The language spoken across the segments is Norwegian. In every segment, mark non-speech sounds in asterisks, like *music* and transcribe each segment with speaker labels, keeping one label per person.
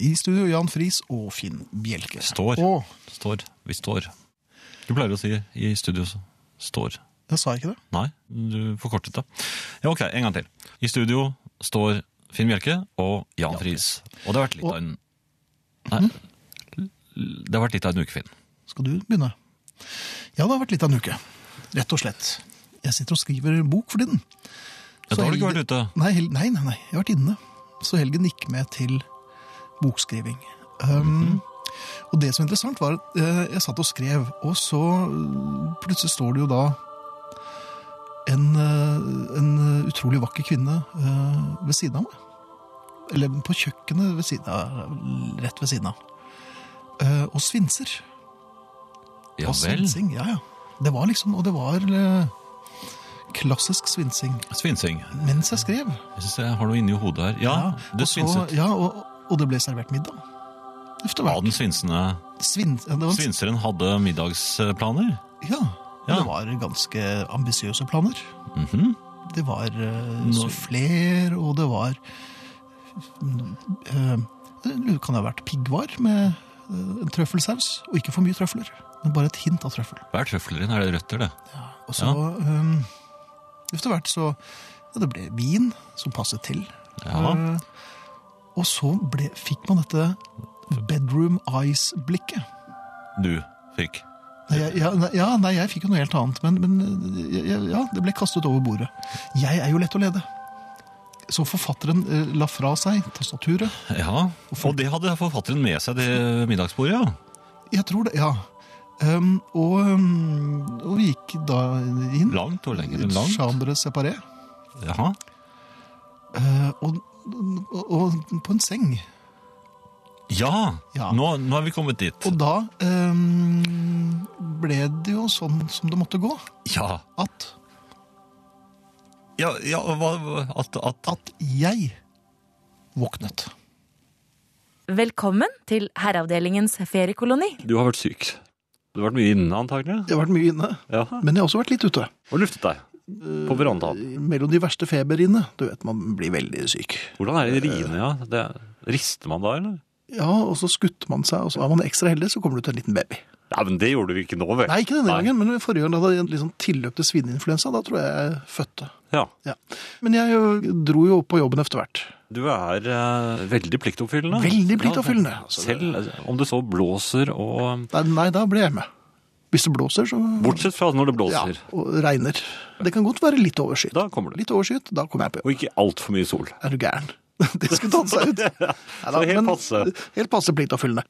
Speaker 1: I studio Jan Friis og Finn Bjelke.
Speaker 2: Står.
Speaker 1: Å,
Speaker 2: Står. Vi står. Du pleier å si i studio så- står.
Speaker 1: jeg sa ikke det.
Speaker 2: Nei, du forkortet det. Ja, ok, en gang til. I studio står Finn Bjelke og Jan Friis. Og det har vært litt
Speaker 1: Og-
Speaker 2: av en Nei, det har vært litt av en uke, Finn.
Speaker 1: Skal du begynne? Ja, det har vært litt av en uke. Rett og slett. Jeg sitter og skriver bok for tiden. Så
Speaker 2: Ja, da har du ikke
Speaker 1: helgen-
Speaker 2: vært ute.
Speaker 1: Nei, hel... nei, nei, nei, jeg har vært inne. Så helgen gikk med til bokskriving. Um,
Speaker 2: Mhm.
Speaker 1: Og det som er interessant var at eh, jeg satt og skrev, og så eh, plutselig står det jo da en, eh, en utrolig vakker kvinne eh, ved siden av meg. Eller på kjøkkenet ved siden av, rett ved siden av. Eh, og svinser.
Speaker 2: Ja
Speaker 1: Og
Speaker 2: vel.
Speaker 1: svinsing, ja, ja. Det var liksom, og det var eh, klassisk svinsing.
Speaker 2: Svinsing.
Speaker 1: Mens jeg skrev.
Speaker 2: Jeg syns jeg har noe inni hodet her. Ja, du
Speaker 1: og så-
Speaker 2: svinset.
Speaker 1: Ja, og, og det ble servert middag. Efter
Speaker 2: Ja,
Speaker 1: hvert.
Speaker 2: den svinsende
Speaker 1: Svin, ja, det var,
Speaker 2: svinseren hadde middagsplaner.
Speaker 1: ja,
Speaker 2: Ja.
Speaker 1: det var ganske ambisiøse planer.
Speaker 2: Mhm.
Speaker 1: Det var uh,
Speaker 2: Nå-
Speaker 1: soufflé, og det var eh, Det kan ha vært piggvar med eh, en trøffelsaus. Og ikke for mye trøfler, men bare et hint av trøffel.
Speaker 2: Hva er trøfler i? Er det røtter, det?
Speaker 1: Og så eh, Efter hvert så ja, Det ble vin som passet til.
Speaker 2: Ja.
Speaker 1: Eh, Og så ble, fikk man dette bedroom eyes-blikket.
Speaker 2: Du fikk.
Speaker 1: Nei, jeg- Ja, nei, ja, nei, jeg fikk jo noe helt annet, men, men eh, ja, ja, det ble kastet over bordet. Jeg er jo lett å lede. Så forfatteren eh, la fra seg tastaturet.
Speaker 2: Ja, og det hadde forfatteren med seg til middagsbordet, ja.
Speaker 1: Jeg tror det, ja. Um, og, um, og vi gikk da inn.
Speaker 2: Langt og lenger enn langt.
Speaker 1: Chambre séparé.
Speaker 2: Jaha.
Speaker 1: eh, og, og, og på en seng.
Speaker 2: Ja,
Speaker 1: Ja.
Speaker 2: Nå, nå er vi kommet dit.
Speaker 1: Og da um, ble det jo sånn som det måtte gå.
Speaker 2: Ja,
Speaker 1: At
Speaker 2: ja, ja hva, hva- at, at,
Speaker 1: at jeg våknet.
Speaker 3: Velkommen til Herreavdelingens feriekoloni.
Speaker 4: Du har vært syk. Du har vært mye inne, antagelig.
Speaker 1: Jeg har vært mye inne,
Speaker 4: Ja.
Speaker 1: men jeg har også vært litt ute.
Speaker 4: Og luftet deg. På verandaen.
Speaker 1: Mellom de verste feberinnene. Du vet, man blir veldig syk.
Speaker 4: Hvordan er det i
Speaker 1: Eh,
Speaker 4: riene, ja? Det, rister man da, eller?
Speaker 1: Ja, og så skutter man seg, og så er man ekstra heldig, så kommer du til en liten baby.
Speaker 4: Nei, men det gjorde du ikke nå, vel?
Speaker 1: Nei, ikke denne
Speaker 4: Nei.
Speaker 1: gangen, men forrige gang da hadde jeg liksom tilløp til svineinfluensa. Da tror jeg jeg fødte.
Speaker 4: Ja.
Speaker 1: Ja. Men jeg jo, dro jo på jobben etter hvert.
Speaker 4: Du er eh, veldig pliktoppfyllende.
Speaker 1: Veldig pliktoppfyllende,
Speaker 4: Ja,
Speaker 1: altså.
Speaker 4: selv om det så blåser og
Speaker 1: Nei, nei, da ble jeg med. Hvis det blåser, så
Speaker 4: Bortsett fra altså når det
Speaker 1: ja,
Speaker 4: blåser.
Speaker 1: Og regner. Det kan godt være litt overskyet.
Speaker 4: Da kommer det.
Speaker 1: Litt overskyet, da kommer jeg på jobb.
Speaker 4: Og ikke altfor mye sol.
Speaker 1: Er du gæren? *laughs* Det skulle tatt seg ut. Neida,
Speaker 4: *laughs* Så helt
Speaker 1: men-
Speaker 4: passe.
Speaker 1: Helt passe pliktoppfyllende.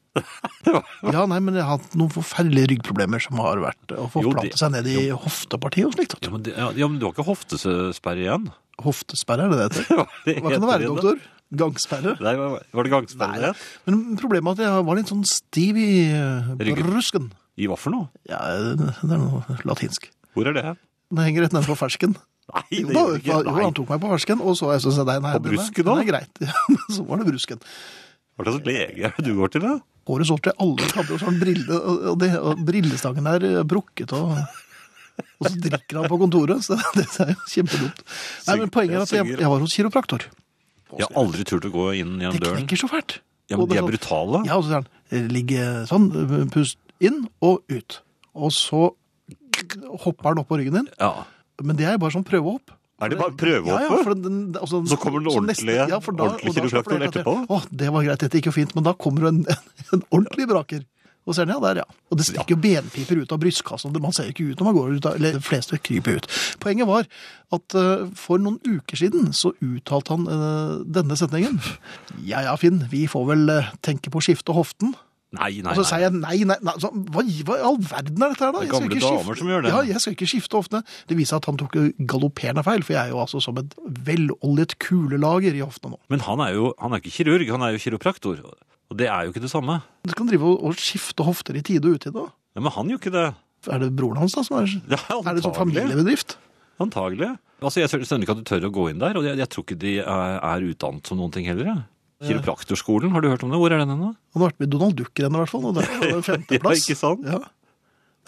Speaker 1: ja, nei, men jeg har hatt noen forferdelige ryggproblemer som har vært å
Speaker 4: Jo,
Speaker 1: forplante
Speaker 4: det-
Speaker 1: seg ned i hoftepartiet og slikt. vet
Speaker 4: Ja,
Speaker 1: du.
Speaker 4: men, det, ja, ja, men du har ikke hoftesperre igjen?
Speaker 1: Hoftesperre, er det det
Speaker 4: *laughs*
Speaker 1: heter? Hva kan det være, doktor? Gangsperre?
Speaker 4: Nei, hva- var det gangsperre
Speaker 1: Nei.
Speaker 4: igjen?
Speaker 1: Men problemet er at jeg var litt sånn stiv i eh,
Speaker 4: Ryggen.
Speaker 1: brusken.
Speaker 4: I hva for noe?
Speaker 1: Ja, det er noe latinsk.
Speaker 4: Hvor er det?
Speaker 1: Den henger rett nede på fersken.
Speaker 4: Nei, det
Speaker 1: Jo, da,
Speaker 4: gjør det ikke.
Speaker 1: jo,
Speaker 4: Nei.
Speaker 1: han tok meg på fersken, og så jeg synes jeg, nei, nei,
Speaker 4: På
Speaker 1: den er-
Speaker 4: brusken, da?
Speaker 1: Den er greit. *laughs* Ja, men så var det brusken.
Speaker 4: Hva slags lege er det du går til, da?
Speaker 1: Årets år til alle hadde jo sånn brille, og, og det, og brillestangen er eh, brukket, og, og så drikker han på kontoret, så *laughs* det er jo kjempedumt. Nei, men poenget er at jeg, jeg var hos kiropraktor.
Speaker 4: Jeg har aldri turt å gå inn
Speaker 1: Det
Speaker 4: gjennom døren.
Speaker 1: knekker så fælt.
Speaker 4: Ja, men
Speaker 1: Og det
Speaker 4: de
Speaker 1: er
Speaker 4: er
Speaker 1: sånn-
Speaker 4: brutale.
Speaker 1: Ja, og så sier han, ligg eh, sånn, eh, pust inn og ut. Og så hopper han opp på ryggen din,
Speaker 4: Ja.
Speaker 1: men det er bare sånn prøvehopp.
Speaker 4: Er det bare
Speaker 1: Ja, ja, for
Speaker 4: prøvehoppet?
Speaker 1: den, den- altså,
Speaker 4: Så kommer den
Speaker 1: neste-
Speaker 4: ordentlige-
Speaker 1: for da-
Speaker 4: ordentlige
Speaker 1: og da slapper
Speaker 4: kiropraktoren
Speaker 1: jeg
Speaker 4: etterpå?
Speaker 1: helt av. Å, det var greit, dette gikk jo fint, men da kommer det en, en ordentlig braker. Og ser den, ja, der, ja. Og det stikker jo benpiper ut av brystkassa, og det- man ser jo ikke ut når man går ut, av- eller de fleste kryper ut. Poenget var at eh, for noen uker siden så uttalte han eh, denne setningen. Ja, ja, Finn, vi får vel eh, tenke på å skifte hoften.
Speaker 4: Nei, nei,
Speaker 1: Og så altså, sier
Speaker 4: nei.
Speaker 1: jeg nei, nei, nei så, hva, hva i all verden er dette her, da?
Speaker 4: Det er
Speaker 1: Jeg skal
Speaker 4: gamle
Speaker 1: ikke skifte-
Speaker 4: damer som gjør det.
Speaker 1: Ja, jeg skal ikke skifte hoftene. Det viser at han tok jo galopperende feil, for jeg er jo altså som et veloljet kulelager i hoftene nå.
Speaker 4: Men han er jo han er ikke kirurg, han er jo kiropraktor. Og det er jo ikke det samme.
Speaker 1: Du kan drive og, og skifte hofter i tide og utide. da.
Speaker 4: Ja, men han gjør ikke det.
Speaker 1: Er det broren hans, da? som Er, er
Speaker 4: Ja,
Speaker 1: det sånn
Speaker 4: antagelig.
Speaker 1: familiebedrift?
Speaker 4: Antagelig. Altså, Jeg skjønner ikke at du tør å gå inn der, og jeg, jeg tror ikke de er, er utdannet som noen ting heller. jeg. Kiropraktorskolen, har du hørt om det? Hvor er den henne?
Speaker 1: Han har vært med i Donald Duck-rennet, i hvert fall. Og der var det femteplass.
Speaker 4: *laughs* Ja, ikke sant?
Speaker 1: Ja.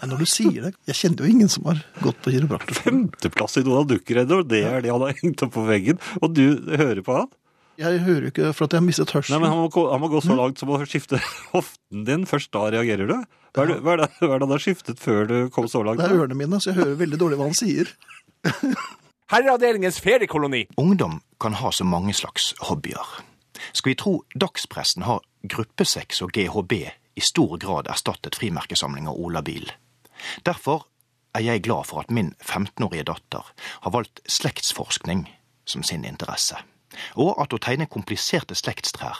Speaker 1: Nei, når du sier det Jeg kjenner jo ingen som har gått på kiropraktor.
Speaker 4: Femteplass i Donald Duck-redder, og det er det han har hengt opp på veggen. Og du hører på han?
Speaker 1: Jeg hører jo ikke for at jeg har mistet hørselen.
Speaker 4: Nei, men han må, gå- han må gå så langt som å skifte *laughs* hoften din. Først da reagerer du. Hva er det, hva er det, hva er det han har skiftet før du kom så langt?
Speaker 1: Det er ørene mine, så jeg hører veldig dårlig hva han sier.
Speaker 5: Herreavdelingens feriekoloni.
Speaker 6: Ungdom kan ha så mange slags hobbyer. Skal vi tro dagspressen har gruppesex og GHB i stor grad erstattet frimerkesamling av olabil. Derfor er jeg glad for at min 15-årige datter har valgt slektsforskning som sin interesse. Og at å tegne kompliserte slektstrær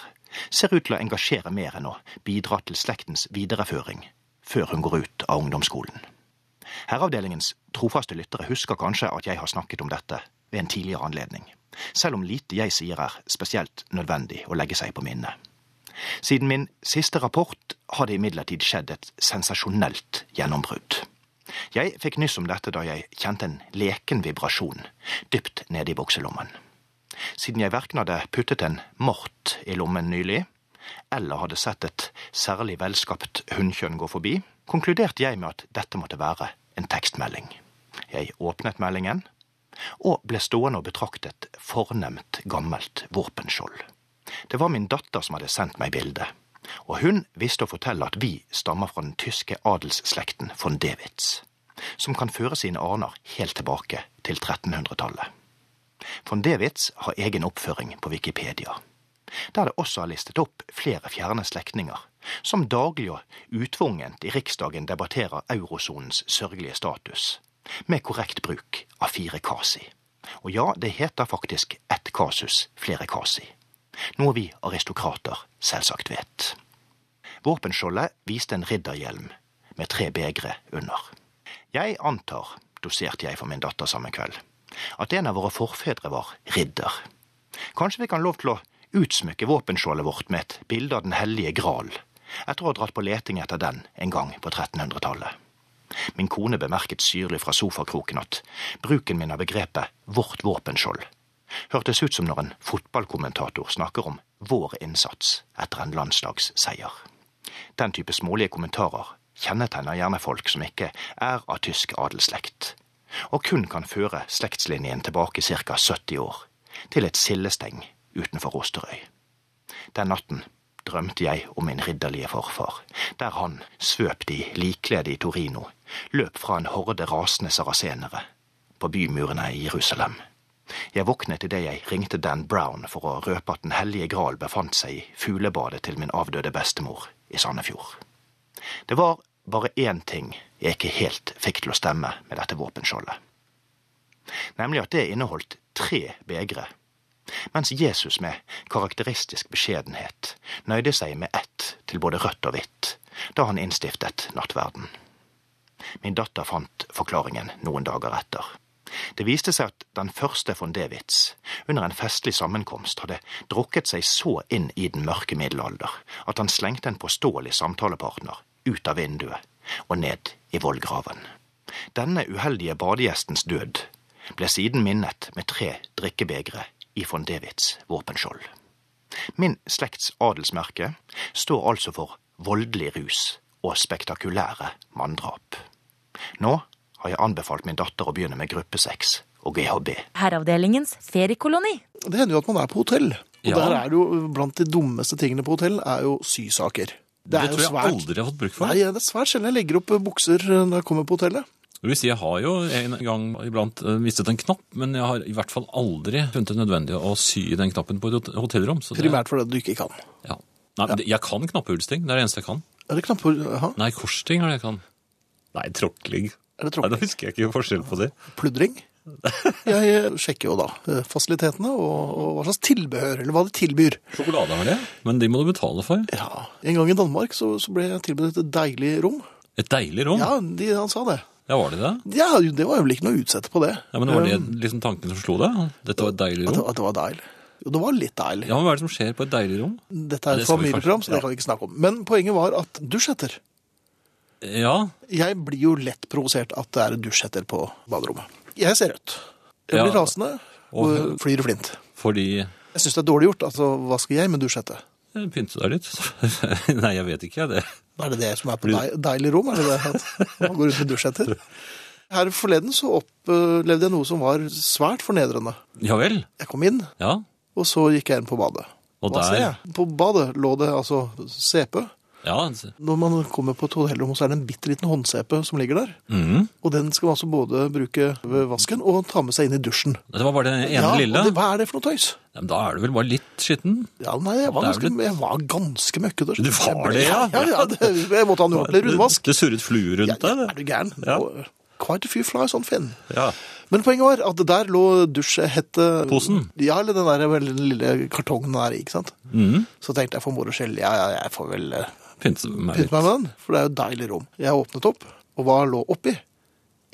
Speaker 6: ser ut til å engasjere mer enn å bidra til slektens videreføring før hun går ut av ungdomsskolen. Herreavdelingens trofaste lyttere husker kanskje at jeg har snakket om dette ved en tidligere anledning, selv om lite jeg sier er spesielt nødvendig å legge seg på minnet. Siden min siste rapport har det imidlertid skjedd et sensasjonelt gjennombrudd. Jeg fikk nyss om dette da jeg kjente en leken vibrasjon dypt nede i bukselommen. Siden jeg verken hadde puttet en mort i lommen nylig, eller hadde sett et særlig velskapt hunnkjønn gå forbi, konkluderte jeg med at dette måtte være en tekstmelding. Jeg åpnet meldingen, og ble stående og betrakte et fornemt, gammelt våpenskjold. Det var min datter som hadde sendt meg bildet, og hun visste å fortelle at vi stammer fra den tyske adelsslekten von Dewitz, som kan føre sine aner helt tilbake til 1300-tallet. Von Dewitz har egen oppføring på Wikipedia, der det også er listet opp flere fjerne slektninger, som daglig og utvungent i Riksdagen debatterer eurosonens sørgelige status, med korrekt bruk av fire kasi. Og ja, det heter faktisk ett kasus, flere kasi. Noe vi aristokrater selvsagt vet. Våpenskjoldet viste en ridderhjelm med tre begre under. Jeg antar, doserte jeg for min datter samme kveld, at en av våre forfedre var ridder. Kanskje vi kan lov til å utsmykke våpenskjoldet vårt med et bilde av Den hellige gral, etter å ha dratt på leting etter den en gang på 1300-tallet. Min kone bemerket syrlig fra sofakroken at bruken min av begrepet vårt våpenskjold hørtes ut som når en fotballkommentator snakker om vår innsats etter en landslagsseier. Den type smålige kommentarer kjennetegner gjerne folk som ikke er av tysk adelsslekt, og kun kan føre slektslinjen tilbake ca. 70 år, til et sildesteng utenfor Osterøy. Den natten drømte jeg om min ridderlige forfar, der han, svøpt i likkledet i Torino, løp fra en horde rasende sarasenere på bymurene i Jerusalem. Jeg våknet idet jeg ringte Dan Brown for å røpe at Den hellige gral befant seg i fuglebadet til min avdøde bestemor i Sandefjord. Det var bare én ting jeg ikke helt fikk til å stemme med dette våpenskjoldet nemlig at det inneholdt tre begre, mens Jesus med karakteristisk beskjedenhet nøyde seg med ett til både rødt og hvitt da han innstiftet nattverden. Min datter fant forklaringen noen dager etter. Det viste seg at den første von Dewitz under en festlig sammenkomst hadde drukket seg så inn i den mørke middelalder at han slengte en påståelig samtalepartner ut av vinduet og ned i vollgraven. Denne uheldige badegjestens død ble siden minnet med tre drikkebegre i von Dewitz våpenskjold. Min slekts adelsmerke står altså for voldelig rus og spektakulære manndrap. Nå har jeg anbefalt min datter å begynne med gruppesex og GHB.
Speaker 3: Herreavdelingens feriekoloni.
Speaker 1: Det hender jo at man er på hotell. Og
Speaker 4: Ja.
Speaker 1: der er det jo blant de dummeste tingene på hotell er jo sysaker. Det, er
Speaker 4: tror
Speaker 1: jo
Speaker 4: jeg
Speaker 1: svært
Speaker 4: aldri jeg har fått bruk for.
Speaker 1: Nei, det er svært sjelden jeg legger opp eh, bukser når jeg kommer på hotellet.
Speaker 2: Det vil si, jeg har jo en gang iblant eh, mistet en knapp, men jeg har i hvert fall aldri funnet det nødvendig å sy den knappen på et hot- hotellrom. Så det,
Speaker 1: Primært fordi du ikke kan.
Speaker 2: ja. Nei, men det- jeg kan knappehullsting. Det er det eneste jeg kan.
Speaker 1: Er det knapper? Jaha,
Speaker 2: Nei, korsting er det jeg kan. Nei, tråkling.
Speaker 1: er det
Speaker 4: Nei, Da
Speaker 1: tråkking?
Speaker 4: husker jeg ikke forskjell på det.
Speaker 1: Pludring? Jeg eh, sjekker jo da eh, fasilitetene og, og hva slags tilbehør, eller hva de tilbyr.
Speaker 2: Sjokolade har det, men de må du betale for.
Speaker 1: Ja, En gang i Danmark så, så ble jeg tilbudt et deilig rom.
Speaker 2: Et deilig rom. Ja,
Speaker 1: Ja, de, han sa det.
Speaker 2: var det det?
Speaker 1: Ja, Det var jo vel ikke noe å utsette på det.
Speaker 2: Ja, men Var det
Speaker 1: Um,
Speaker 2: liksom tanken som slo deg? Dette var et deilig
Speaker 1: At,
Speaker 2: rom?
Speaker 1: det- at det var deilig. Jo, det var litt deilig.
Speaker 2: Ja, men Hva er det som skjer på et deilig rom?
Speaker 1: Dette er
Speaker 2: Det
Speaker 1: et
Speaker 2: skal vi
Speaker 1: familieprogram,
Speaker 2: kanskje-
Speaker 1: så det kan vi ikke snakke om. Men poenget var at dusjhetter.
Speaker 2: Ja,
Speaker 1: Jeg blir jo lett provosert at det er dusjhetter på baderommet. Jeg ser rødt. Jeg blir
Speaker 2: Ja.
Speaker 1: rasende og
Speaker 2: Og-
Speaker 1: flyr i flint.
Speaker 2: fordi
Speaker 1: Jeg syns det er dårlig gjort. Altså, hva skal jeg med dusjhette?
Speaker 2: eh, Pynte deg litt. *laughs* Nei, jeg vet ikke. Det.
Speaker 1: Er det det som er på deil, deilig rom? Er det det at man går ut med dusjhetter? Her forleden så opplevde jeg noe som var svært fornedrende.
Speaker 2: Ja vel.
Speaker 1: Jeg kom inn,
Speaker 2: Ja.
Speaker 1: Og så gikk jeg inn på badet.
Speaker 2: Og
Speaker 1: Hva ser
Speaker 2: der
Speaker 1: jeg? På badet lå det altså CP.
Speaker 2: Ja, altså.
Speaker 1: Når man kommer på et hotellrom, så er det en bitte liten håndsepe som ligger der.
Speaker 2: mm.
Speaker 1: Og den skal man altså både bruke ved vasken og ta med seg inn i dusjen.
Speaker 2: Det var bare det ene
Speaker 1: ja,
Speaker 2: lille.
Speaker 1: og Det, hva er det for noe tøys?
Speaker 2: Ja, men da er du vel bare litt skitten?
Speaker 1: Ja, nei, jeg var
Speaker 2: Det er
Speaker 1: ganske,
Speaker 2: vel
Speaker 1: jeg var ganske møkkete.
Speaker 2: Du var det, ja?
Speaker 1: *laughs* Ja, ja, det, jeg måtte ha en ordentlig rundvask.
Speaker 2: Det, det surret flue rundt
Speaker 1: Ja, ja,
Speaker 2: deg,
Speaker 1: er
Speaker 2: det.
Speaker 1: du gæren?
Speaker 2: Ja.
Speaker 1: Nå, Quite a few flies on Finn.
Speaker 2: Ja.
Speaker 1: Men poenget var at der lå dusjhette...
Speaker 2: Posen?
Speaker 1: Ja, eller den der veldig lille kartongen der, ikke sant?
Speaker 2: Mm.
Speaker 1: Så tenkte jeg for moro skyld, ja, ja, jeg får vel eh,
Speaker 2: Pynte meg
Speaker 1: pynte
Speaker 2: litt.
Speaker 1: meg med den, for det er jo et deilig rom. Jeg åpnet opp, og hva lå oppi?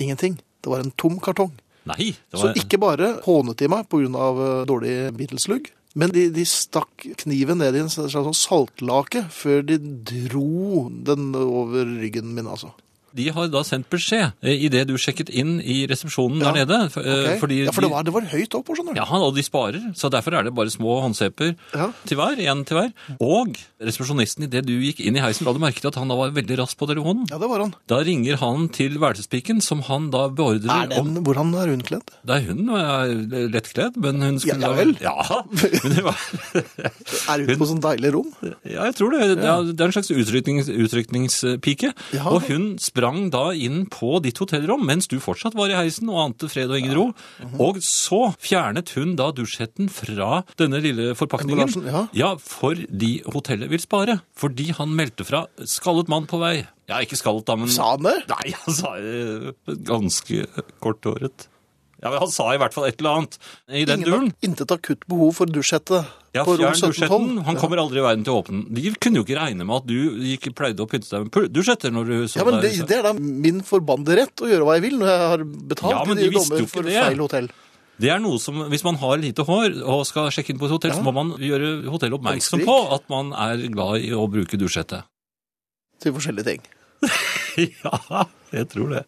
Speaker 1: Ingenting. Det var en tom kartong.
Speaker 2: Nei, det
Speaker 1: Så
Speaker 2: var
Speaker 1: ikke bare hånet de meg pga. eh, dårlig Beatles-lugg, men de, de stakk kniven ned i en slags sånn saltlake før de dro den over ryggen min, altså.
Speaker 2: De har da sendt beskjed idet du sjekket inn i resepsjonen der
Speaker 1: Ja,
Speaker 2: nede. f- eh,
Speaker 1: Ok?
Speaker 2: Fordi
Speaker 1: ja, for det
Speaker 2: de-
Speaker 1: var, det var høyt opp, skjønner du.
Speaker 2: Ja, og de sparer, så derfor er det bare små håndseper
Speaker 1: Ja.
Speaker 2: til hver, en til hver. Og resepsjonisten, idet du gikk inn i heisen, la du merke til at han da var veldig rask på telefonen.
Speaker 1: Ja, det var han.
Speaker 2: Da ringer han til værelsespiken, som han da beordrer
Speaker 1: Er den, hvor han er unnkledd?
Speaker 2: Det er hun, og jeg er lettkledd, men hun skulle
Speaker 1: Ja, ja vel. *laughs*
Speaker 2: Ja, men det var...
Speaker 1: Er ute på sånn deilig rom?
Speaker 2: Ja, jeg tror det. Ja, det er en slags utryknings, utrykningspike.
Speaker 1: Ja.
Speaker 2: Og hun sprang da inn på ditt hotellrom mens du fortsatt var i heisen og ante fred og ingen ro.
Speaker 1: Mhm.
Speaker 2: Og så fjernet hun da dusjhetten fra denne lille forpakningen.
Speaker 1: Emballasjen, ja.
Speaker 2: fordi hotellet vil spare. Fordi han meldte fra skallet mann på vei. Ja, ikke skallet da, men
Speaker 1: Sa han det?
Speaker 2: Nei, han sa eh, ganske korthåret. Ja, men Han sa i hvert fall et eller annet i den
Speaker 1: Ingen
Speaker 2: duren.
Speaker 1: har intet akutt behov for dusjhette.
Speaker 2: Ja,
Speaker 1: på rom
Speaker 2: fjern
Speaker 1: 1712.
Speaker 2: dusjetten. Han kommer aldri i verden til å åpne den. De kunne jo ikke regne med at du gikk, pleide å pynte deg med pul- dusjetter når du så
Speaker 1: Ja, men det,
Speaker 2: deg.
Speaker 1: det er da min forbannede rett å gjøre hva jeg vil når jeg har betalt
Speaker 2: Ja, men
Speaker 1: de
Speaker 2: de visste jo
Speaker 1: dommer
Speaker 2: ikke
Speaker 1: for
Speaker 2: det.
Speaker 1: feil hotell.
Speaker 2: Det er noe som, Hvis man har lite hår og skal sjekke inn på et hotell, så må man gjøre hotellet oppmerksom
Speaker 1: Håndsprit.
Speaker 2: på at man er glad
Speaker 1: *laughs*
Speaker 2: i å bruke dusjhette.
Speaker 1: Til forskjellige ting.
Speaker 2: ja, jeg tror det.